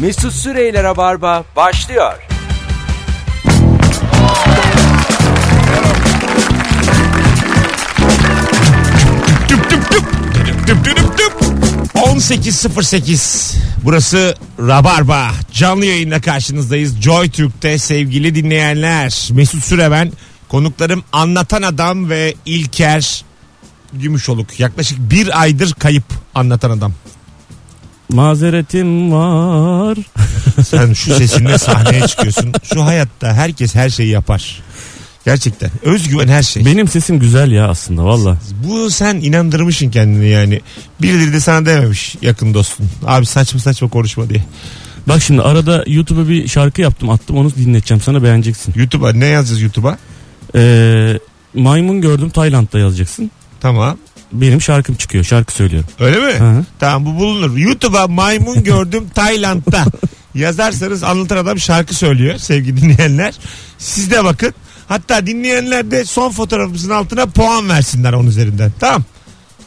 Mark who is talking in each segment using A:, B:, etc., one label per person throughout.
A: Mesut Süreyler'e barba başlıyor.
B: Düp düp düp. Düdüp düp düdüp düp. 18.08 Burası Rabarba Canlı yayınla karşınızdayız Joy Türk'te sevgili dinleyenler Mesut Süre ben Konuklarım Anlatan Adam ve İlker Gümüşoluk Yaklaşık bir aydır kayıp Anlatan Adam
C: Mazeretim var.
B: Sen şu sesinle sahneye çıkıyorsun Şu hayatta herkes her şeyi yapar Gerçekten özgüven her şey
C: Benim sesim güzel ya aslında valla.
B: Bu sen inandırmışsın kendini yani. Birileri de sana dememiş yakın dostun. Abi saçma saçma konuşma diye.
C: Bak şimdi arada YouTube'a bir şarkı yaptım attım onu dinleteceğim sana beğeneceksin.
B: YouTube'a ne yazacağız YouTube'a?
C: Ee, maymun gördüm Tayland'da yazacaksın.
B: Tamam.
C: Benim şarkım çıkıyor şarkı söylüyorum.
B: Öyle mi?
C: Hı.
B: Tamam bu bulunur. YouTube'a maymun gördüm Tayland'da. Yazarsanız anlatan adam şarkı söylüyor sevgili dinleyenler. Siz de bakın. Hatta dinleyenler de son fotoğrafımızın altına puan versinler onun üzerinden. Tamam.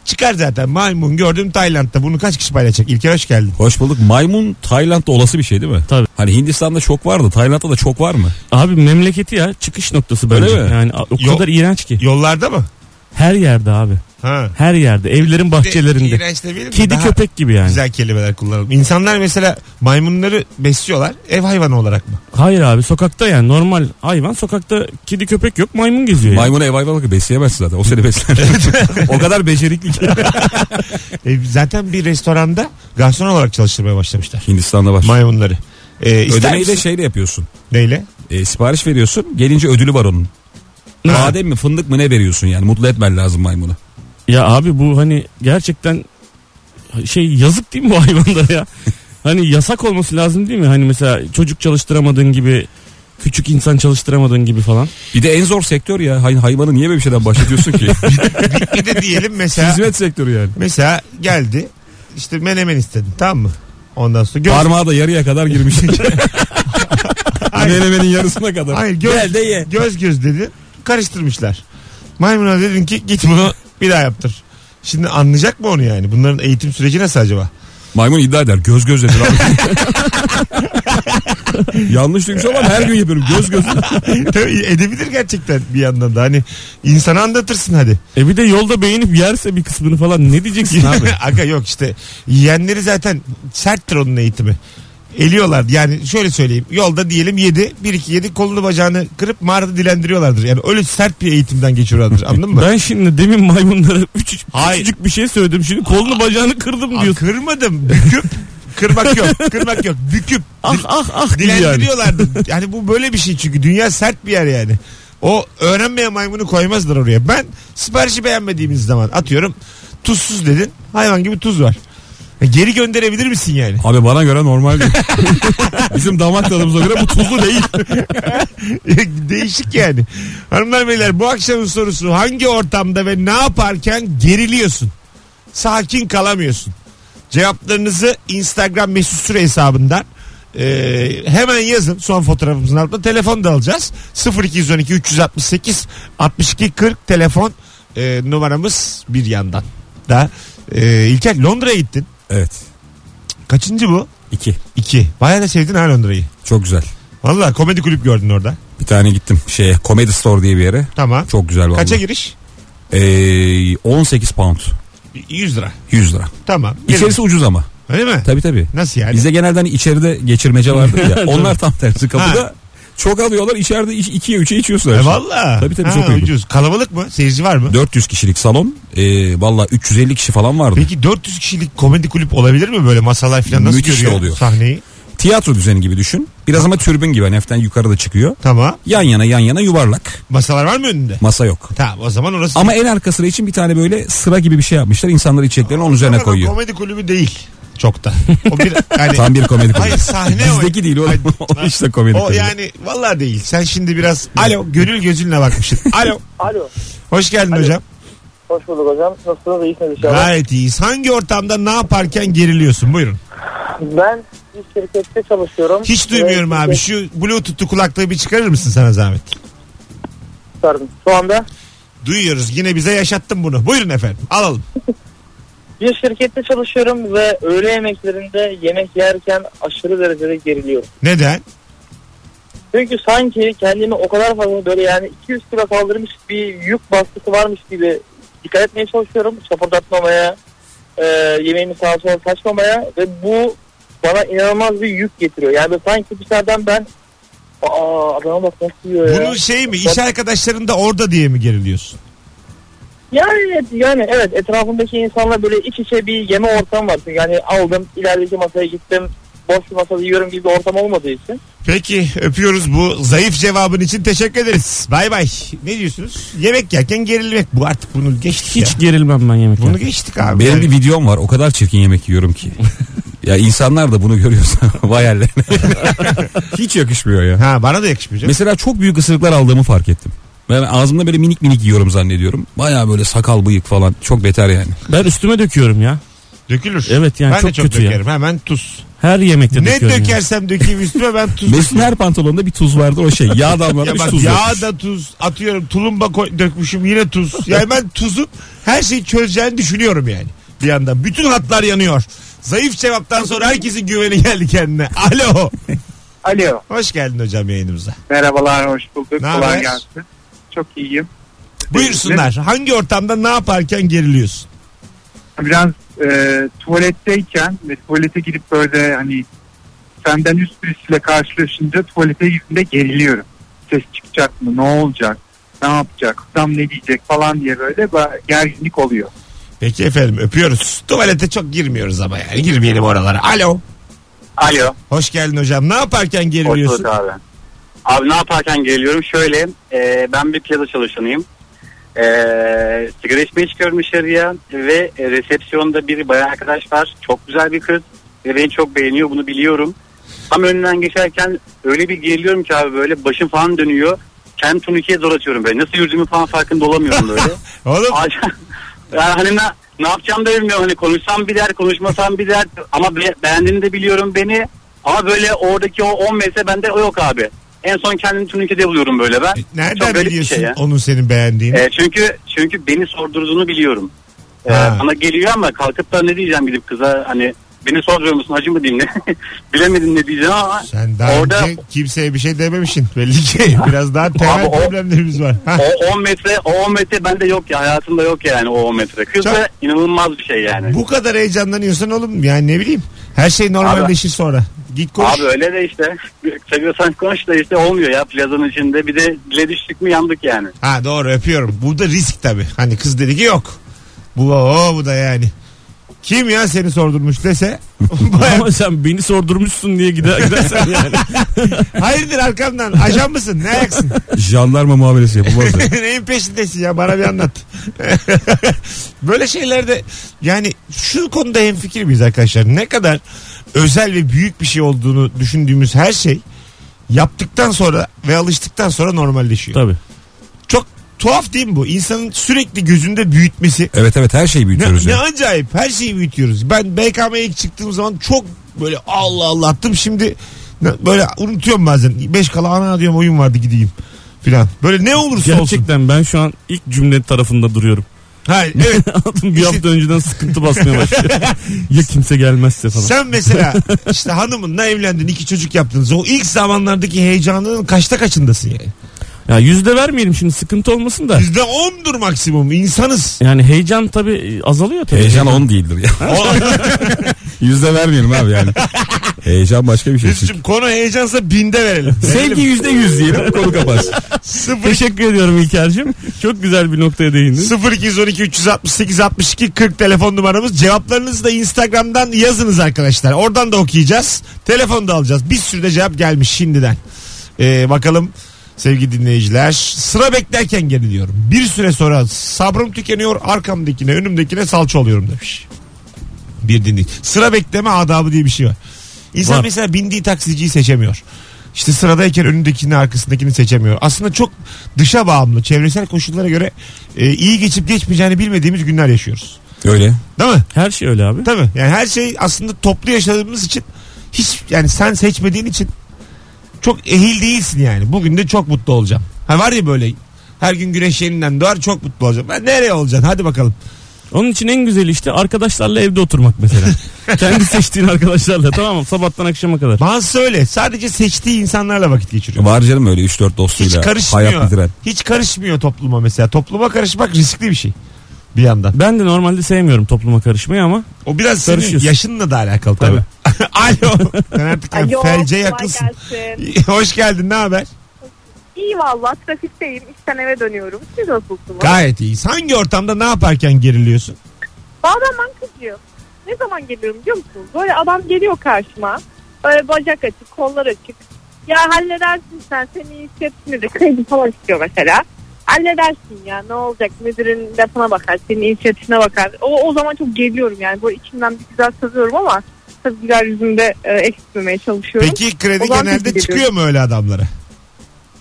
B: Çıkar zaten maymun gördüm Tayland'da. Bunu kaç kişi paylaşacak? İlker hoş geldin.
D: Hoş bulduk. Maymun Tayland'da olası bir şey değil mi?
C: Tabii.
D: Hani Hindistan'da çok vardı. Tayland'da da çok var mı?
C: Abi memleketi ya çıkış noktası bence.
D: Öyle mi?
C: Yani a- o
B: Yo-
C: kadar iğrenç ki.
B: Yollarda mı?
C: Her yerde abi.
B: Ha.
C: Her yerde evlerin bahçelerinde.
B: İğrenç demeyelim de
C: Kedi
B: daha-
C: köpek gibi yani.
B: Güzel kelimeler kullanalım. İnsanlar mesela maymunları besliyorlar ev hayvanı olarak mı?
C: Hayır abi sokakta yani normal hayvan sokakta kedi köpek yok maymun geziyor. yani.
D: Maymunu ev hayvanı bakıp besleyemezsin zaten. O seni besler. o kadar becerikli ki.
B: E, zaten bir restoranda garson olarak çalıştırmaya başlamışlar
D: Hindistan'da var.
B: maymunları. E, ister
D: Ödemeyi de
B: misin?
D: şeyle yapıyorsun.
B: Neyle?
D: E, sipariş veriyorsun. Gelince ödülü var onun.
B: Ha.
D: Badem mi fındık mı ne veriyorsun yani. Mutlu etmen lazım maymunu.
C: Ya abi bu hani gerçekten şey yazık değil mi bu hayvanlara ya? hani yasak olması lazım değil mi? Hani mesela çocuk çalıştıramadığın gibi küçük insan çalıştıramadığın gibi falan.
D: Bir de en zor sektör ya. Hay- hayvanı niye böyle bir şeyden bahsediyorsun ki?
B: Bir de diyelim mesela
D: Hizmet sektörü yani.
B: mesela geldi işte menemen istedin tamam mı? Ondan sonra göz,
D: Parmağı da yarıya kadar girmiş. Menemenin yarısına kadar.
B: hayır, göz,
D: Gel de ye.
B: göz göz dedi karıştırmışlar. Maymuna dedin ki git bunu bir daha yaptır. Şimdi anlayacak mı onu yani? Bunların eğitim süreci nasıl acaba?
D: Maymun iddia eder. Göz göz dedi. Yanlış duymuş ama her gün yapıyorum. Göz göz.
B: Tabii edebilir gerçekten bir yandan da hani insana anlatırsın hadi.
C: E bir de yolda beğenip yerse bir kısmını falan ne diyeceksin abi?
B: Aga yok işte yiyenleri zaten serttir onun eğitimi. Eliyorlar yani şöyle söyleyeyim yolda diyelim yedi bir iki yedi kolunu bacağını kırıp mağarada dilendiriyorlardır. Yani öyle sert bir eğitimden geçiyorlardır anladın mı?
C: Ben şimdi demin maymunlara üç,
B: Hayır.
C: küçücük bir şey söyledim. Şimdi kolunu bacağını kırdım
B: Aa,
C: diyorsun.
B: kırmadım büküp kırmak yok kırmak yok büküp
C: Ah ah ah diye yani.
B: dilendiriyorlardır. Yani. bu böyle bir şey çünkü dünya sert bir yer yani. O öğrenmeye maymunu koymazlar oraya. Ben siparişi beğenmediğimiz zaman atıyorum tuzsuz dedin hayvan gibi tuz var. E, Geri gönderebilir misin yani?
D: Abi bana göre normal değil. Bizim damak tadımıza göre bu tuzlu değil.
B: Değişik yani. Hanımlar beyler bu akşamın sorusu hangi ortamda ve ne yaparken geriliyorsun? Sakin kalamıyorsun. Cevaplarınızı Instagram mesut süre hesabından e, hemen yazın son fotoğrafımızın altına. Telefon da alacağız. 0212 368 62 40 telefon e, numaramız bir yandan. Da e, İlker Londra'ya gittin.
D: Evet.
B: Kaçıncı bu?
D: iki.
B: İki. Bayağı da sevdin ha Londra'yı.
D: Çok güzel.
B: Valla komedi kulüp gördün orada.
D: Bir tane gittim şeye Comedy Store diye bir yere.
B: Tamam.
D: Çok güzel vallahi.
B: Kaça giriş?
D: Ee, 18 pound.
B: 100 lira.
D: 100 lira.
B: Tamam.
D: İçerisi ucuz ama.
B: Öyle mi?
D: Tabi tabi.
B: Nasıl yani?
D: Bize genelde hani içeride geçirmece vardır ya. onlar tam tersi kapıda. Çok alıyorlar içeride 2'ye 3'e içiyorsun. her
B: E
D: şey.
B: valla.
D: Tabii tabii,
B: Ha,
D: çok uygun.
B: ucuz. Kalabalık mı? Seyirci var mı?
D: 400 kişilik salon. Ee, Valla 350 kişi falan vardı.
B: Peki 400 kişilik komedi kulüp olabilir mi böyle masalar falan nasıl
D: Müthiş
B: görüyor
D: oluyor.
B: sahneyi?
D: Tiyatro düzeni gibi düşün. Biraz ama türbün gibi. Hani hafiften yukarıda çıkıyor.
B: Tamam.
D: Yan yana yan yana yuvarlak.
B: Masalar var mı önünde?
D: Masa yok.
B: Tamam o zaman orası.
D: Ama en arka sıra için bir tane böyle sıra gibi bir şey yapmışlar. İnsanlar içeceklerini onun üzerine
B: Ama o
D: koyuyor.
B: komedi kulübü değil. Çok da. O bir yani
D: Tam bir komedi kulübü.
B: Hayır, sahne o.
D: Bizdeki değil oğlum. O işte komedi
B: o
D: kulübü.
B: yani valla değil. Sen şimdi biraz alo gönül gözünle bakmışsın. Alo.
E: Alo.
B: Hoş geldin hocam.
E: Hoş bulduk hocam. Nasılsınız? İyisiniz inşallah.
B: Gayet iyiyiz. Hangi ortamda ne yaparken geriliyorsun? Buyurun.
E: Ben bir şirkette çalışıyorum.
B: Hiç duymuyorum
E: Ve
B: abi. Şu bluetooth'lu kulaklığı bir çıkarır mısın sana zahmet?
E: çıkardım. Şu anda
B: Duyuyoruz. Yine bize yaşattın bunu. Buyurun efendim. Alalım.
E: Bir şirkette çalışıyorum ve öğle yemeklerinde yemek yerken aşırı derecede geriliyorum.
B: Neden?
E: Çünkü sanki kendimi o kadar fazla böyle yani 200 kilo kaldırmış bir yük baskısı varmış gibi dikkat etmeye çalışıyorum. Çapırdatmamaya, e, yemeğimi sağa sola saçmamaya ve bu bana inanılmaz bir yük getiriyor. Yani böyle sanki dışarıdan ben aa adama bak nasıl yiyor ya.
B: Bunu şey mi iş arkadaşların da orada diye mi geriliyorsun?
E: Yani evet, yani evet etrafımdaki insanlar böyle iç içe bir yeme ortamı var. Yani aldım ilerideki masaya gittim boş bir masada yiyorum gibi bir ortam olmadığı için.
B: Peki öpüyoruz bu zayıf cevabın için teşekkür ederiz. Bay bay. Ne diyorsunuz? Yemek yerken gerilmek bu artık bunu geçtik
C: Hiç
B: ya.
C: gerilmem ben yemekten.
B: Bunu geçtik abi.
D: Benim
B: Yani
D: bir videom var o kadar çirkin yemek yiyorum ki. ya insanlar da bunu görüyorsa vay hallerine. Hiç yakışmıyor ya.
B: Ha bana da yakışmayacak.
D: Mesela çok büyük ısırıklar aldığımı fark ettim. Ben ağzımda böyle minik minik yiyorum zannediyorum. Baya böyle sakal bıyık falan çok beter yani.
C: Ben üstüme döküyorum ya.
B: Dökülür.
C: Evet, yani
B: ben de
C: çok
B: çok
C: kötü ya.
B: dökerim. Hemen tuz.
C: Her yemekte
B: ne
C: döküyorum. ya.
B: dökersem dökeyim üstüme ben tuz.
D: Mesut'un her pantolonunda bir tuz vardır o şey. Yağ
B: Ya
D: damlatmış
B: bak
D: tuz.
B: yağ
D: dökmüş.
B: da tuz atıyorum tulumba koy- dökmüşüm yine tuz. Yani ben tuzun her şeyi çözeceğini düşünüyorum yani bir yandan. Bütün hatlar yanıyor. Zayıf cevaptan sonra herkesin güveni geldi kendine. Alo.
F: Alo.
B: Hoş geldin hocam yayınımıza.
F: Merhabalar, hoş bulduk.
B: Ne haber?
F: Kolay gelsin. Çok iyiyim.
B: Buyursunlar. Hangi ortamda ne yaparken geriliyorsun?
F: Biraz e, tuvaletteyken ve tuvalete gidip böyle hani senden üst birisiyle karşılaşınca tuvalete girdiğimde geriliyorum. Ses çıkacak mı? Ne olacak? Ne yapacak? Adam ne diyecek falan diye böyle ba- gerginlik oluyor.
B: Peki efendim öpüyoruz. Tuvalete çok girmiyoruz ama yani girmeyelim oralara. Alo.
G: Alo.
B: Hoş geldin hocam. Ne yaparken
G: Hoş
B: geriliyorsun?
G: bulduk abi. Abi ne yaparken geliyorum? Şöyle e, ben bir piyada çalışanıyım. E, sigara içmeye çıkıyorum dışarıya ve e, resepsiyonda bir bayan arkadaş var. Çok güzel bir kız ve beni çok beğeniyor bunu biliyorum. Tam önünden geçerken öyle bir geriliyorum ki abi böyle başım falan dönüyor. Kendim turnikeye zor atıyorum böyle. Nasıl yürüdüğümü falan farkında olamıyorum böyle.
B: Oğlum
G: Acayip- yani hani ne, ne yapacağımı da bilmiyorum. Hani konuşsam bir dert, konuşmasam bir dert. Ama be, beğendiğini de biliyorum beni. Ama böyle oradaki o 10 mesele bende o yok abi. En son kendimi turnikede buluyorum böyle ben. Çok
B: E, nereden
G: garip bir
B: biliyorsun
G: şey ya.
B: onun senin beğendiğini?
G: Ee, çünkü çünkü beni sordurduğunu biliyorum. Ee,
B: Ha.
G: bana geliyor ama kalkıp da ne diyeceğim gidip kıza hani beni sorduruyor musun hacı mı dinle? Bilemedim ne diyeceğim ama
B: Sen daha
G: orada
B: önce kimseye bir şey dememişsin. Belli ki biraz daha temel
G: Abi o-
B: problemlerimiz var. Ha,
G: o 10 metre o 10 metre bende yok ya hayatımda yok yani o 10 metre. Kız da inanılmaz bir şey yani.
B: bu kadar heyecanlanıyorsan oğlum yani ne bileyim. Her şey normalleşir sonra. Git konuş.
G: Abi öyle de işte seviyorsan konuş da işte olmuyor ya plazanın içinde bir de dile düştük mü yandık yani.
B: Ha doğru öpüyorum. Burada risk tabii. Hani kız dedi ki yok. Bu o bu da yani. Kim ya seni sordurmuş dese Baya-
C: Ama sen beni sordurmuşsun diye gider, gidersen yani.
B: hayırdır arkamdan ajan mısın ne ayaksın
D: Jandarma muamelesi yapılmaz ya.
B: neyin peşindesin ya bana bir anlat böyle şeylerde yani şu konuda hemfikir miyiz arkadaşlar ne kadar özel ve büyük bir şey olduğunu düşündüğümüz her şey yaptıktan sonra ve alıştıktan sonra normalleşiyor
C: Tabii.
B: çok tuhaf değil mi bu insanın sürekli gözünde büyütmesi
D: Evet evet her şeyi
B: Ne,
D: büyütüyoruz
B: ne
D: ya.
B: acayip her şeyi büyütüyoruz. Ben BKM'ye ilk çıktığım zaman çok böyle Allah Allah attım şimdi ne- böyle unutuyorum bazen. Beş kala ana diyorum oyun vardı gideyim filan. Böyle ne olursa olsun.
C: Gerçekten ben şu an ilk cümle tarafında duruyorum.
B: Hayır evet.
C: bir hafta önceden sıkıntı basmaya başlıyor. ya kimse gelmezse falan.
B: Sen mesela işte hanımınla evlendin iki çocuk yaptınız. O ilk zamanlardaki heyecanının kaçta kaçındasın yani?
C: Ya yüzde vermeyelim şimdi sıkıntı olmasın da.
B: Bizde ondur maksimum insanız.
C: Yani heyecan tabii e, azalıyor tabii.
D: Heyecan 10 değildir ya.
B: O-
D: Yüzde vermeyelim abi yani. Heyecan başka bir şey.
B: Mesut'cum konu heyecansa binde verelim.
D: Sevgi yüzde yüz diyelim konu kapansın.
B: Sıfır
C: Teşekkür ediyorum İlker'cim. Çok güzel bir noktaya değindin.
B: 0212 368 62 40 telefon numaramız. Cevaplarınızı da Instagram'dan yazınız arkadaşlar. Oradan da okuyacağız. Telefon da alacağız. Bir sürü de cevap gelmiş şimdiden. Ee, bakalım sevgili dinleyiciler. Sıra beklerken geriliyorum. Bir süre sonra sabrım tükeniyor. Arkamdakine önümdekine salça oluyorum demiş. Bir dinleyici. Sıra bekleme adabı diye bir şey var. İnsan
C: Var.
B: mesela bindiği taksiciyi seçemiyor. İşte sıradayken önündekini arkasındakini seçemiyor. Aslında çok dışa bağımlı çevresel koşullara göre e, iyi geçip geçmeyeceğini bilmediğimiz günler yaşıyoruz.
D: Öyle.
B: Değil mi?
C: Her şey öyle abi.
B: Tabii. Yani her şey aslında toplu yaşadığımız için hiç yani sen seçmediğin için çok ehil değilsin yani. Bugün de çok mutlu olacağım. Ha var ya böyle her gün güneş yeniden doğar çok mutlu olacağım. Ben nereye olacaksın? Hadi bakalım.
C: Onun için en güzeli işte arkadaşlarla evde oturmak mesela. Kendi seçtiğin arkadaşlarla tamam mı? Sabahtan akşama kadar.
B: Bazısı öyle. Sadece seçtiği insanlarla vakit geçiriyor.
D: Var canım öyle 3-4
B: Hiç
D: dostuyla hayat
B: karışmıyor.
D: bitiren.
B: Hiç karışmıyor topluma mesela. Topluma karışmak riskli bir şey. Bir yandan.
C: Ben de normalde sevmiyorum topluma karışmayı ama
B: O biraz senin
C: Karışıyorsun.
B: yaşınla da alakalı tabii. Alo. Sen artık
H: Alo,
B: felce
H: kolay
B: yakınsın.
H: gelsin.
B: Hoş geldin ne haber?
H: İyi valla trafikteyim. İşten eve dönüyorum. Siz nasılsınız?
B: Gayet iyiyiz. Hangi ortamda ne yaparken geriliyorsun?
H: Bazen ben kızıyorum. Ne zaman geliyorum biliyor musunuz? Böyle adam geliyor karşıma. Böyle bacak açık, kollar açık. Ya halledersin sen, seni iyi hissetmedi. Kredi falan istiyor mesela. Halledersin ya ne olacak müdürün lafına bakar, senin inisiyatifine bakar. O, o zaman çok geliyorum yani. Böyle içimden bir güzel sızıyorum ama tabii güzel yüzümde e, eksilmemeye çalışıyorum.
B: Peki kredi
H: O zaman biz
B: genelde
H: geliyoruz.
B: çıkıyor mu öyle adamlara?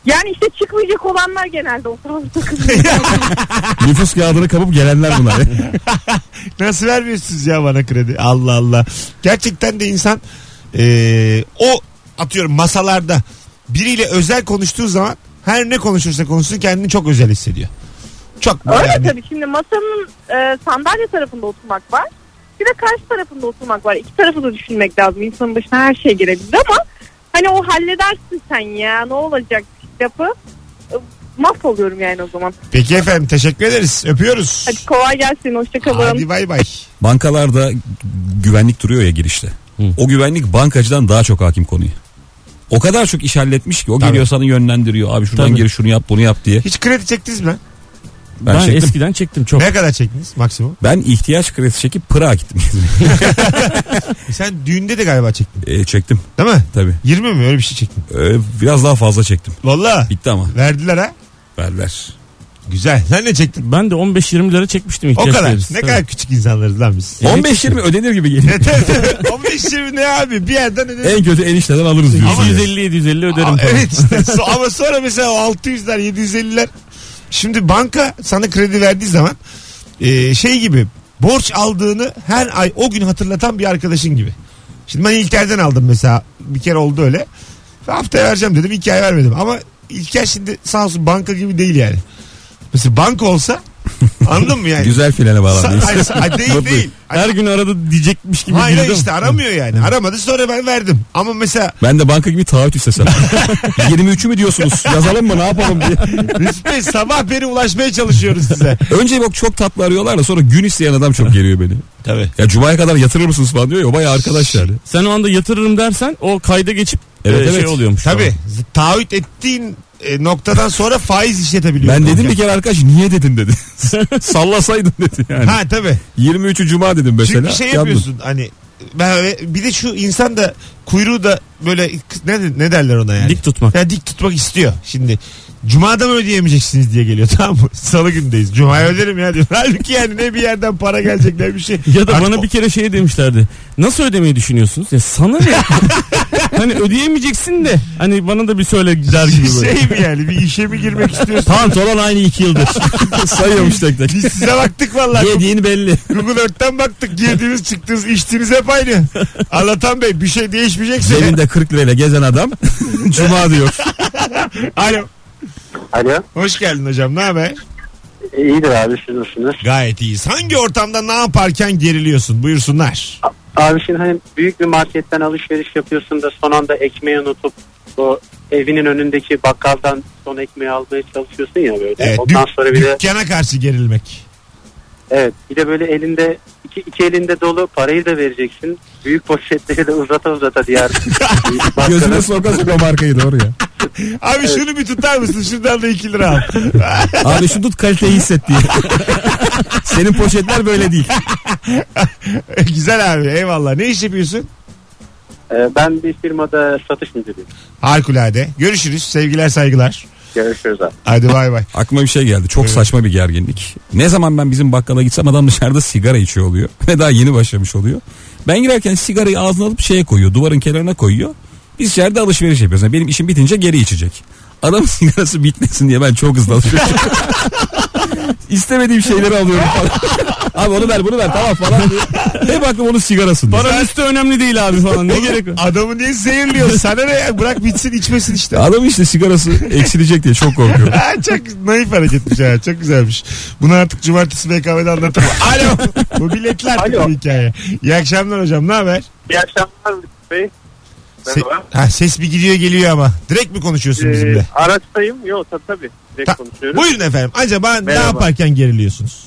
H: Yani işte çıkmayacak olanlar genelde o zaman
D: Nüfus kağıdını kapıp gelenler bunlar.
B: Nasıl vermiyorsunuz ya bana kredi? Allah Allah. Gerçekten de insan eee, o atıyorum masalarda biriyle özel konuştuğu zaman her ne konuşursa konuşsun kendini çok özel hissediyor. Çok böyle
H: Öyle
B: yani.
H: tabii şimdi masanın e, sandalye tarafında oturmak var. Bir de karşı tarafında oturmak var. İki tarafı da düşünmek lazım. İnsanın başına her şey gelebilir ama hani o halledersin sen ya ne olacak lafı. E, mahvoluyorum yani o zaman.
B: Peki efendim teşekkür ederiz. Öpüyoruz.
H: Hadi kolay gelsin. Hoşçakalın.
B: Hadi bay bay.
D: Bankalarda güvenlik duruyor ya girişte.
C: Hı.
D: O güvenlik bankacıdan daha çok hakim konuyu. O kadar çok iş halletmiş ki o
B: Tabii.
D: geliyor sana yönlendiriyor. Abi şuradan
C: Tabii.
D: gir şunu yap bunu yap diye.
B: Hiç kredi çektiniz mi? lan?
D: Ben
C: ben,
D: çektim.
C: eskiden çektim çok.
B: Ne kadar çektiniz maksimum?
D: Ben ihtiyaç kredisi çekip pırağa gittim.
B: E sen düğünde de galiba çektin
D: E, çektim
B: değil mi?
D: tabii.
B: 20 mi öyle bir şey çektin?
D: E, biraz daha fazla çektim.
B: Valla
D: Bitti ama.
B: verdiler ha.
D: Ver ver.
B: Güzel. Sen ne çektin?
C: Ben de 15-20 lira çekmiştim
B: O
C: ihtiyaç
B: kadar.
C: kredisi.
B: Ne
C: Tabii.
B: kadar küçük insanlarız lan biz.
C: Evet.
D: 15-20 ödenir gibi geliyor.
B: 15 20 ne abi? Bir yerden ödedim.
D: en kötü enişteden alırız diyorsun. yani.
C: 750 750 öderim.
B: Aa,
C: falan.
B: evet işte. So- ama sonra mesela o 600'ler 750'ler şimdi banka sana kredi verdiği zaman e, şey gibi borç aldığını her ay o gün hatırlatan bir arkadaşın gibi. Şimdi ben İlker'den aldım mesela bir kere oldu öyle. Haftaya vereceğim dedim iki ay vermedim ama İlker şimdi sağ olsun banka gibi değil yani. Mesela banka olsa anladın mı yani?
D: Güzel filene bağlandı.
B: Sa- hayır, sa- değil değil.
C: Her gün arada diyecekmiş gibi
B: Hayır
C: girdim.
B: işte aramıyor yani. Aramadı sonra ben verdim. Ama mesela
D: Ben de banka gibi taahhüt istesem. 23'ü mü diyorsunuz? Yazalım mı ne yapalım diye.
B: Mesut Bey sabah beri ulaşmaya çalışıyoruz size.
D: Önce bak çok tatlı arıyorlar da sonra gün isteyen adam çok geliyor beni.
B: Tabii.
D: Ya cumaya kadar yatırır mısınız falan diyor ya o baya arkadaş yani.
C: Sen o anda yatırırım dersen o kayda geçip
D: Evet,
C: e, şey
D: evet.
C: oluyormuş.
B: Tabii. Z- Taahhüt ettiğin e, noktadan sonra faiz işletebiliyorsun.
D: Ben dedim bir kere arkadaş niye dedin dedi. Sallasaydın dedi yani.
B: Ha tabii.
D: 23'ü cuma dedim mesela.
B: Çünkü şey
D: Yandın.
B: yapıyorsun hani ben öyle- bir de şu insan da kuyruğu da böyle ne, ne derler ona yani.
C: Dik tutmak.
B: Ya dik tutmak istiyor. Şimdi Cuma'da mı ödeyemeyeceksiniz diye geliyor tamam mı? Salı gündeyiz. Cuma'ya öderim ya diyor. Halbuki yani ne bir yerden para gelecek ne bir şey.
C: Ya da
B: Artık
C: bana
B: o-
C: bir kere şey demişlerdi. Nasıl ödemeyi düşünüyorsunuz? Ya sana ne? hani ödeyemeyeceksin de. Hani bana da bir söyle der gibi böyle.
B: şey mi yani bir işe mi girmek istiyorsun?
C: Pantolon aynı iki yıldır.
D: Sayıyormuş tek tek.
B: Biz size baktık vallahi.
C: Yediğin belli.
B: Google Earth'ten baktık. Girdiğiniz çıktığınız içtiğiniz hep aynı. Anlatan Bey bir şey değişmeyecekse.
D: Cebinde 40 lirayla gezen adam cuma diyor.
B: Alo.
G: Alo.
B: Hoş geldin hocam. Ne haber?
G: İyidir E, abi siz nasılsınız?
B: Gayet iyiyiz. Hangi ortamda ne yaparken geriliyorsun? Buyursunlar.
G: Abi şimdi hani büyük bir marketten alışveriş yapıyorsun da son anda ekmeği unutup o evinin önündeki bakkaldan son ekmeği almaya çalışıyorsun ya böyle.
B: Evet,
G: Ondan
B: dük-
G: sonra bir de
B: Dükkana karşı gerilmek.
G: evet bir de böyle elinde iki, iki elinde dolu parayı da vereceksin. Büyük poşetleri de uzata uzata diğer büyük bakkalın-
D: Gözüne soka soka markayı doğru ya.
B: Abi şunu bir tutar mısın? Şuradan da 2 lira al.
D: Abi şu tut kaliteyi hisset diye. Senin poşetler böyle değil.
B: Güzel abi eyvallah. Ne iş yapıyorsun?
G: Ee, ben bir firmada satış müdürüyüm.
B: Harikulade. Görüşürüz. Sevgiler saygılar.
G: Görüşürüz abi.
B: Hadi bay bay.
D: Aklıma bir şey geldi. Çok
B: Evet.
D: saçma bir gerginlik. Ne zaman ben bizim bakkala gitsem adam dışarıda sigara içiyor oluyor. Ve daha yeni başlamış oluyor. Ben girerken sigarayı ağzına alıp şeye koyuyor. Duvarın kenarına koyuyor. Biz içeride alışveriş yapıyoruz. Yani benim işim bitince geri içecek. Adamın sigarası bitmesin diye ben çok hızlı alışveriş yapıyorum. İstemediğim şeyleri alıyorum falan. Abi onu ver bunu ver tamam falan diye. Hep aklım onun sigarasında.
C: Paranın üstü önemli değil abi falan. Ne gerek var?
B: Adamı niye zehirliyorsun? Sana ne ya? Bırak bitsin içmesin işte.
D: Adam işte sigarası eksilecek diye çok korkuyorum.
B: Ha, çok naif hareketmiş ha. Çok güzelmiş. Bunu artık cumartesi BKM'de anlatamam. Alo. Bu biletler
E: Alo.
B: bu hikaye. İyi akşamlar hocam. Ne haber?
E: İyi akşamlar Mesut Bey.
B: Se- ha, ses bir gidiyor geliyor ama. Direkt mi
E: Ee,
B: konuşuyorsun bizimle?
E: araçtayım. Yok tabii tabii. Direkt
B: Ta-
E: konuşuyoruz.
B: Buyurun efendim. Acaba ne
E: Merhaba.
B: yaparken geriliyorsunuz?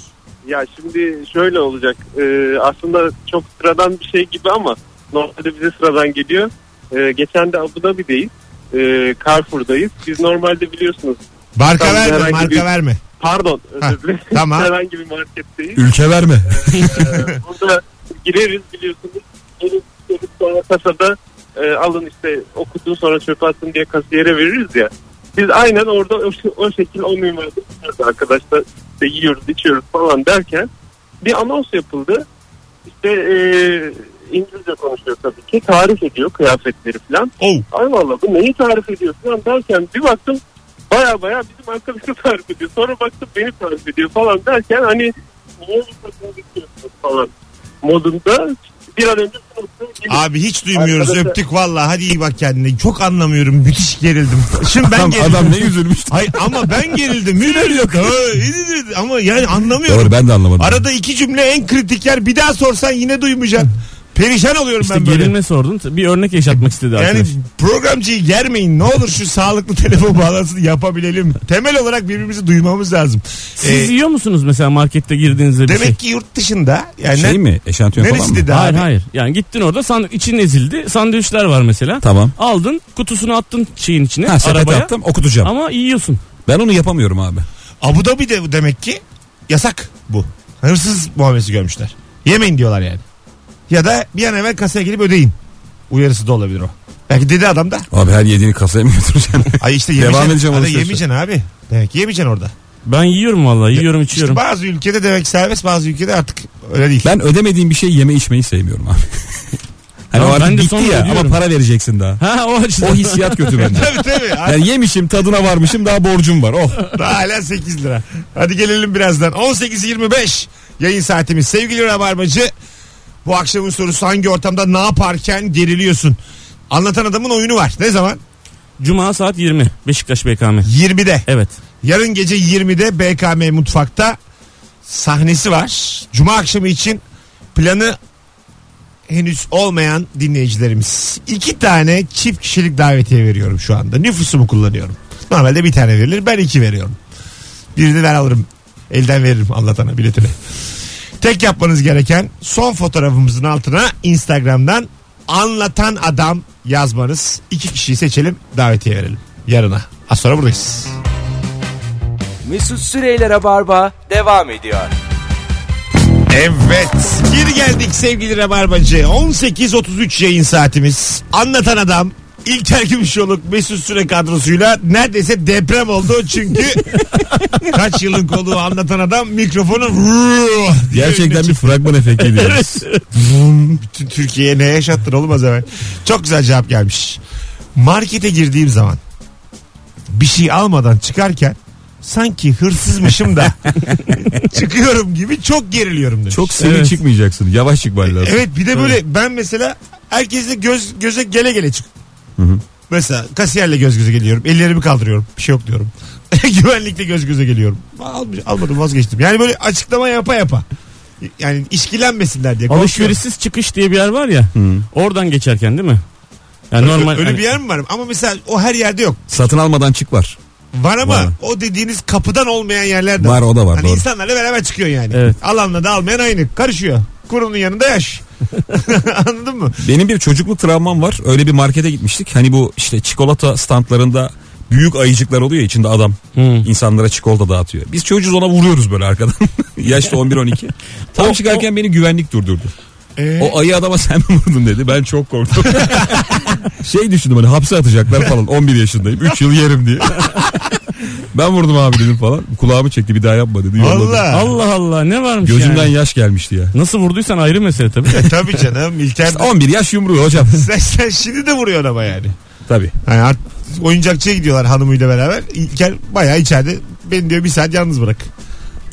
E: Ya şimdi şöyle olacak. Ee, aslında çok sıradan bir şey gibi ama normalde bize sıradan geliyor. Ee, geçen de Abu Dhabi'deyiz. Ee, Carrefour'dayız. Biz normalde biliyorsunuz.
B: Marka
E: Tamam,
B: verme,
E: herhangi
B: marka
E: bir-
B: verme.
E: Pardon
B: Ha,
E: özür dilerim.
B: tamam.
E: Herhangi bir marketteyiz.
D: Ülke verme.
E: Ee, Burada gireriz biliyorsunuz. Gelip gelip sonra kasada e, alın işte okudun sonra çöpe atın diye kasiyere veririz ya. Biz aynen orada o, o şekil o minvalde gidiyoruz arkadaşlar işte yiyoruz içiyoruz falan derken bir anons yapıldı. İşte e, İngilizce konuşuyor tabii ki. Tarif ediyor kıyafetleri falan.
B: Oh.
E: Ay valla bu neyi tarif ediyor falan derken bir baktım baya baya bizim arkadaşı tarif ediyor. Sonra baktım beni tarif ediyor falan derken hani niye bu kadını dikiyorsunuz falan modunda bir an önce sınıfı gelip
B: Abi hiç duymuyoruz
E: Arkadaşlar-
B: öptük valla hadi iyi bak kendine çok anlamıyorum müthiş gerildim. Şimdi ben
D: Adam,
B: gerildim.
D: adam ne üzülmüş.
B: Hayır ama ben gerildim. Sinir yok. ama yani anlamıyorum.
D: Doğru ben de anlamadım.
B: Arada iki cümle en kritik yer bir daha sorsan yine duymayacaksın. Perişan oluyorum
C: İşte
B: ben böyle.
C: gerilme sordun. Bir örnek yaşatmak istedi
B: Yani
C: arkadaş.
B: programcıyı germeyin. Ne olur şu sağlıklı telefon bağlantısını yapabilelim. Temel olarak birbirimizi duymamız lazım.
C: Siz
B: Ee,
C: yiyor musunuz mesela markette girdiğinizde bir şey?
B: demek ki yurt dışında yani
D: şey mi? Eşantiyon falan
B: neresi
D: mı?
B: dedi
C: Hayır
B: abi?
C: hayır. Yani gittin orada sand için ezildi. Sandviçler var mesela.
D: Tamam.
C: Aldın kutusunu attın şeyin içine
D: Ha sepet
C: arabaya.
D: attım okutacağım.
C: Ama yiyorsun.
D: Ben onu yapamıyorum abi.
B: Abu Dhabi de demek ki yasak bu. Hırsız muamelesi görmüşler. Yemeyin diyorlar yani. Ya da bir an evvel kasaya gelip ödeyin. Uyarısı da olabilir o. Belki dedi adam da.
D: Abi her yediğini kasaya mı götüreceksin?
B: Ay işte
D: Devam
B: yemeyeceksin.
D: edeceğim
B: Hadi
D: alışverişe.
B: yemeyeceksin abi. Demek ki yemeyeceksin orada.
C: Ben yiyorum vallahi. Yiyorum içiyorum.
B: İşte bazı ülkede demek serbest bazı ülkede artık öyle değil.
D: ben ödemediğim bir şey yeme içmeyi sevmiyorum abi. hani
C: Tamam,
D: o artık
C: ben de
D: bitti
C: sonra
D: ya
C: ödüyorum.
D: ama para vereceksin daha.
C: Ha o açıdan.
D: O hissiyat kötü bende.
B: tabii tabii. Artık
D: Yani yemişim tadına varmışım daha borcum var. Oh.
B: Daha hala 8 lira. Hadi gelelim birazdan. 18.25 yayın saatimiz. Sevgili Rabarbacı bu akşamın sorusu hangi ortamda ne yaparken geriliyorsun? Anlatan adamın oyunu var. Ne zaman?
C: Cuma saat 20. Beşiktaş BKM.
B: 20'de.
D: E,
C: Evet.
B: Yarın gece 20'de BKM Mutfak'ta sahnesi var. Cuma akşamı için planı henüz olmayan dinleyicilerimiz. İki tane çift kişilik davetiye veriyorum şu anda. Nüfusumu kullanıyorum. Normalde bir tane verilir. Ben iki veriyorum. Birini ben alırım. Elden veririm anlatana biletini. Tek yapmanız gereken son fotoğrafımızın altına Instagram'dan anlatan adam yazmanız. İki kişiyi seçelim davetiye verelim. Yarına. Az sonra buradayız.
A: Mesut Süreyler'e barba devam ediyor.
B: Evet. Geri geldik sevgili Rabarbacı. 18.33 yayın saatimiz. Anlatan adam İlker Gümüşoluk Mesut Süre kadrosuyla neredeyse deprem oldu çünkü kaç yılın kolu anlatan adam mikrofonu vuuu diye önüne
D: Gerçekten bir
B: çıktı.
D: fragman efekti diyoruz.
B: Vum, bütün Türkiye'ye ne yaşattın oğlum o zaman. Çok güzel cevap gelmiş. Markete girdiğim zaman bir şey almadan çıkarken sanki hırsızmışım da çıkıyorum gibi çok geriliyorum demiş.
D: Çok seri
C: Evet.
D: çıkmayacaksın. Yavaş çıkman lazım.
B: Evet bir de böyle ben mesela herkesle göz göze gele gele çık. Mesela kasiyerle göz göze geliyorum. Ellerimi kaldırıyorum. Bir şey yok diyorum. Güvenlikle göz göze geliyorum. Almış, almadım vazgeçtim. Yani böyle açıklama yapa yapa. Yani işkilenmesinler diye. korkuyorum.
C: Alışverişsiz çıkış diye bir yer var ya. Oradan geçerken değil mi? Yani normal.
B: Öyle
C: hani-
B: bir yer mi var? Ama mesela o her yerde yok.
D: Satın almadan çık var.
B: Var ama
D: Var.
B: o dediğiniz kapıdan olmayan yerler de
D: Var o da var.
B: Hani
D: doğru.
B: insanlarla beraber çıkıyor yani.
C: Evet.
B: Alanla da almayan aynı. Karışıyor. Kurunun yanında yaş. Anladın mı?
D: Benim bir çocukluk travmam var. Öyle bir markete gitmiştik. Hani bu işte çikolata standlarında büyük ayıcıklar oluyor ya, içinde adam
C: Hı.
D: insanlara çikolata dağıtıyor. Biz çocuğuz ona vuruyoruz böyle arkadan. Yaşta 11-12. Tam çıkarken beni güvenlik durdurdu.
B: Ee?
D: O ayı adama sen mi vurdun dedi. Ben çok korktum. şey düşündüm hani hapse atacaklar falan. 11 yaşındayım. 3 yıl yerim diye. ben vurdum abi dedim falan. Kulağımı çekti bir daha yapma dedi. yolladı.
B: Vallahi.
C: Allah Allah ne varmış
D: Gözümden
C: yani.
D: yaş gelmişti ya.
C: Nasıl vurduysan ayrı mesele tabii. de.
B: E, Tabii canım. İlker
D: İşte 11 yaş yumruğu hocam.
B: sen, sen şimdi de vuruyorsun ama yani.
D: Tabii.
B: Hani art- oyuncakçıya gidiyorlar hanımıyla beraber. İlker bayağı içeride. Beni diyor bir saat yalnız bırak.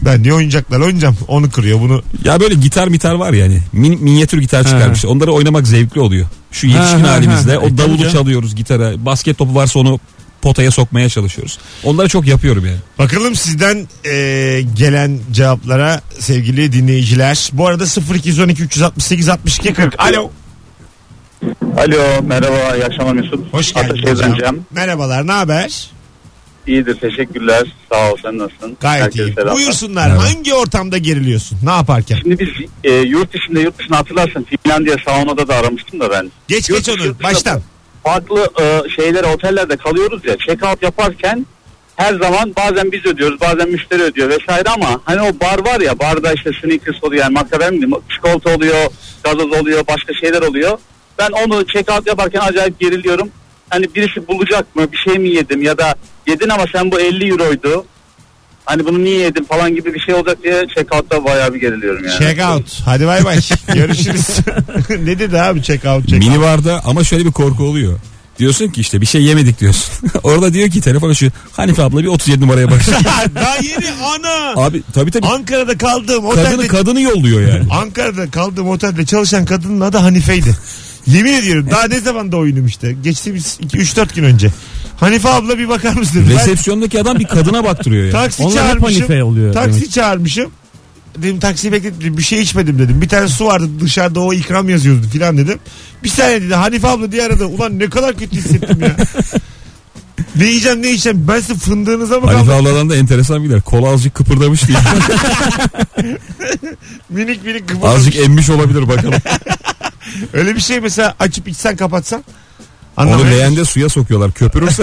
B: Ben diye oyuncaklar oynayacağım. Onu kırıyor bunu.
D: Ya böyle gitar mitar var yani. Min, minyatür gitar çıkarmışlar. Onları oynamak zevkli oluyor. Şu yetişkin
C: ha, ha.
D: halimizde
C: E, tabii
D: o davulu
C: canım.
D: çalıyoruz gitara. Basket topu varsa onu potaya sokmaya çalışıyoruz. Onları çok yapıyorum yani.
B: Bakalım sizden e, gelen cevaplara sevgili dinleyiciler. Bu arada 0212 368 62 40. Alo.
I: Alo merhaba iyi akşamlar Mesut.
B: Hoş geldin
I: Ataşehir'den
B: hocam.
I: Cem.
B: Merhabalar ne haber?
I: İyidir teşekkürler sağ ol sen nasılsın?
B: Gayet
I: Herkese
B: iyi.
I: selamlar.
B: Buyursunlar
D: Merhaba.
B: hangi ortamda geriliyorsun? Ne yaparken?
I: Şimdi biz e, yurt içinde yurt dışında hatırlarsın Finlandiya saunada da aramıştım da ben.
B: Geç
I: Yurt
B: geç
I: dışı, yurt
B: onu
I: dışında
B: baştan.
I: Farklı e, şeylere otellerde kalıyoruz ya check out yaparken her zaman bazen biz ödüyoruz bazen müşteri ödüyor vesaire ama hani o bar var ya barda işte sneakers oluyor yani makarna mı çikolata oluyor gazoz oluyor başka şeyler oluyor. Ben onu check out yaparken acayip geriliyorum. Hani birisi bulacak mı bir şey mi yedim ya da yedin ama sen bu 50 euroydu. Hani bunu niye yedin falan gibi bir şey olacak diye check out'ta bayağı bir geriliyorum yani.
B: Check out. Hadi bay bay. Görüşürüz. ne dedi abi check out check out.
D: Mini barda ama şöyle bir korku oluyor. Diyorsun ki işte bir şey yemedik diyorsun. Orada diyor ki telefon açıyor. Hanife abla bir 37 numaraya bak.
B: Daha yeni ana.
D: Abi tabii tabii.
B: Ankara'da kaldığım
D: Kadını
B: otelde
D: kadını yolluyor yani.
B: Ankara'da kaldığım otelde çalışan kadının adı Hanife'ydi. Yemin ediyorum daha ne zaman da oyunum işte. Geçtiğimiz 3-4 gün önce. Hanife abla bir bakar mısın? dedi. Ben
D: Resepsiyondaki adam bir kadına baktırıyor yani.
B: taksi
C: Onlar hep
B: çağırmışım.
C: hanife oluyor.
B: Taksi
C: demek.
B: çağırmışım. Dedim taksiyi bekletmedim bir şey içmedim dedim. Bir tane su vardı dışarıda o ikram yazıyordu filan dedim. Bir saniye dedi Hanife abla diye aradı. Ulan ne kadar kötü hissettim ya. ne yiyeceğim ne içeceğim ben sizin fındığınıza mı
D: Hanife
B: kaldım?
D: abladan da enteresan bilir. Kol azıcık kıpırdamış diye.
B: Minik minik
D: azıcık
B: kıpırdamış.
D: emmiş olabilir bakalım.
B: Öyle bir şey mesela açıp içsen kapatsan.
D: Onu
B: Anlamayız.
D: leğende suya sokuyorlar. Köpürürse.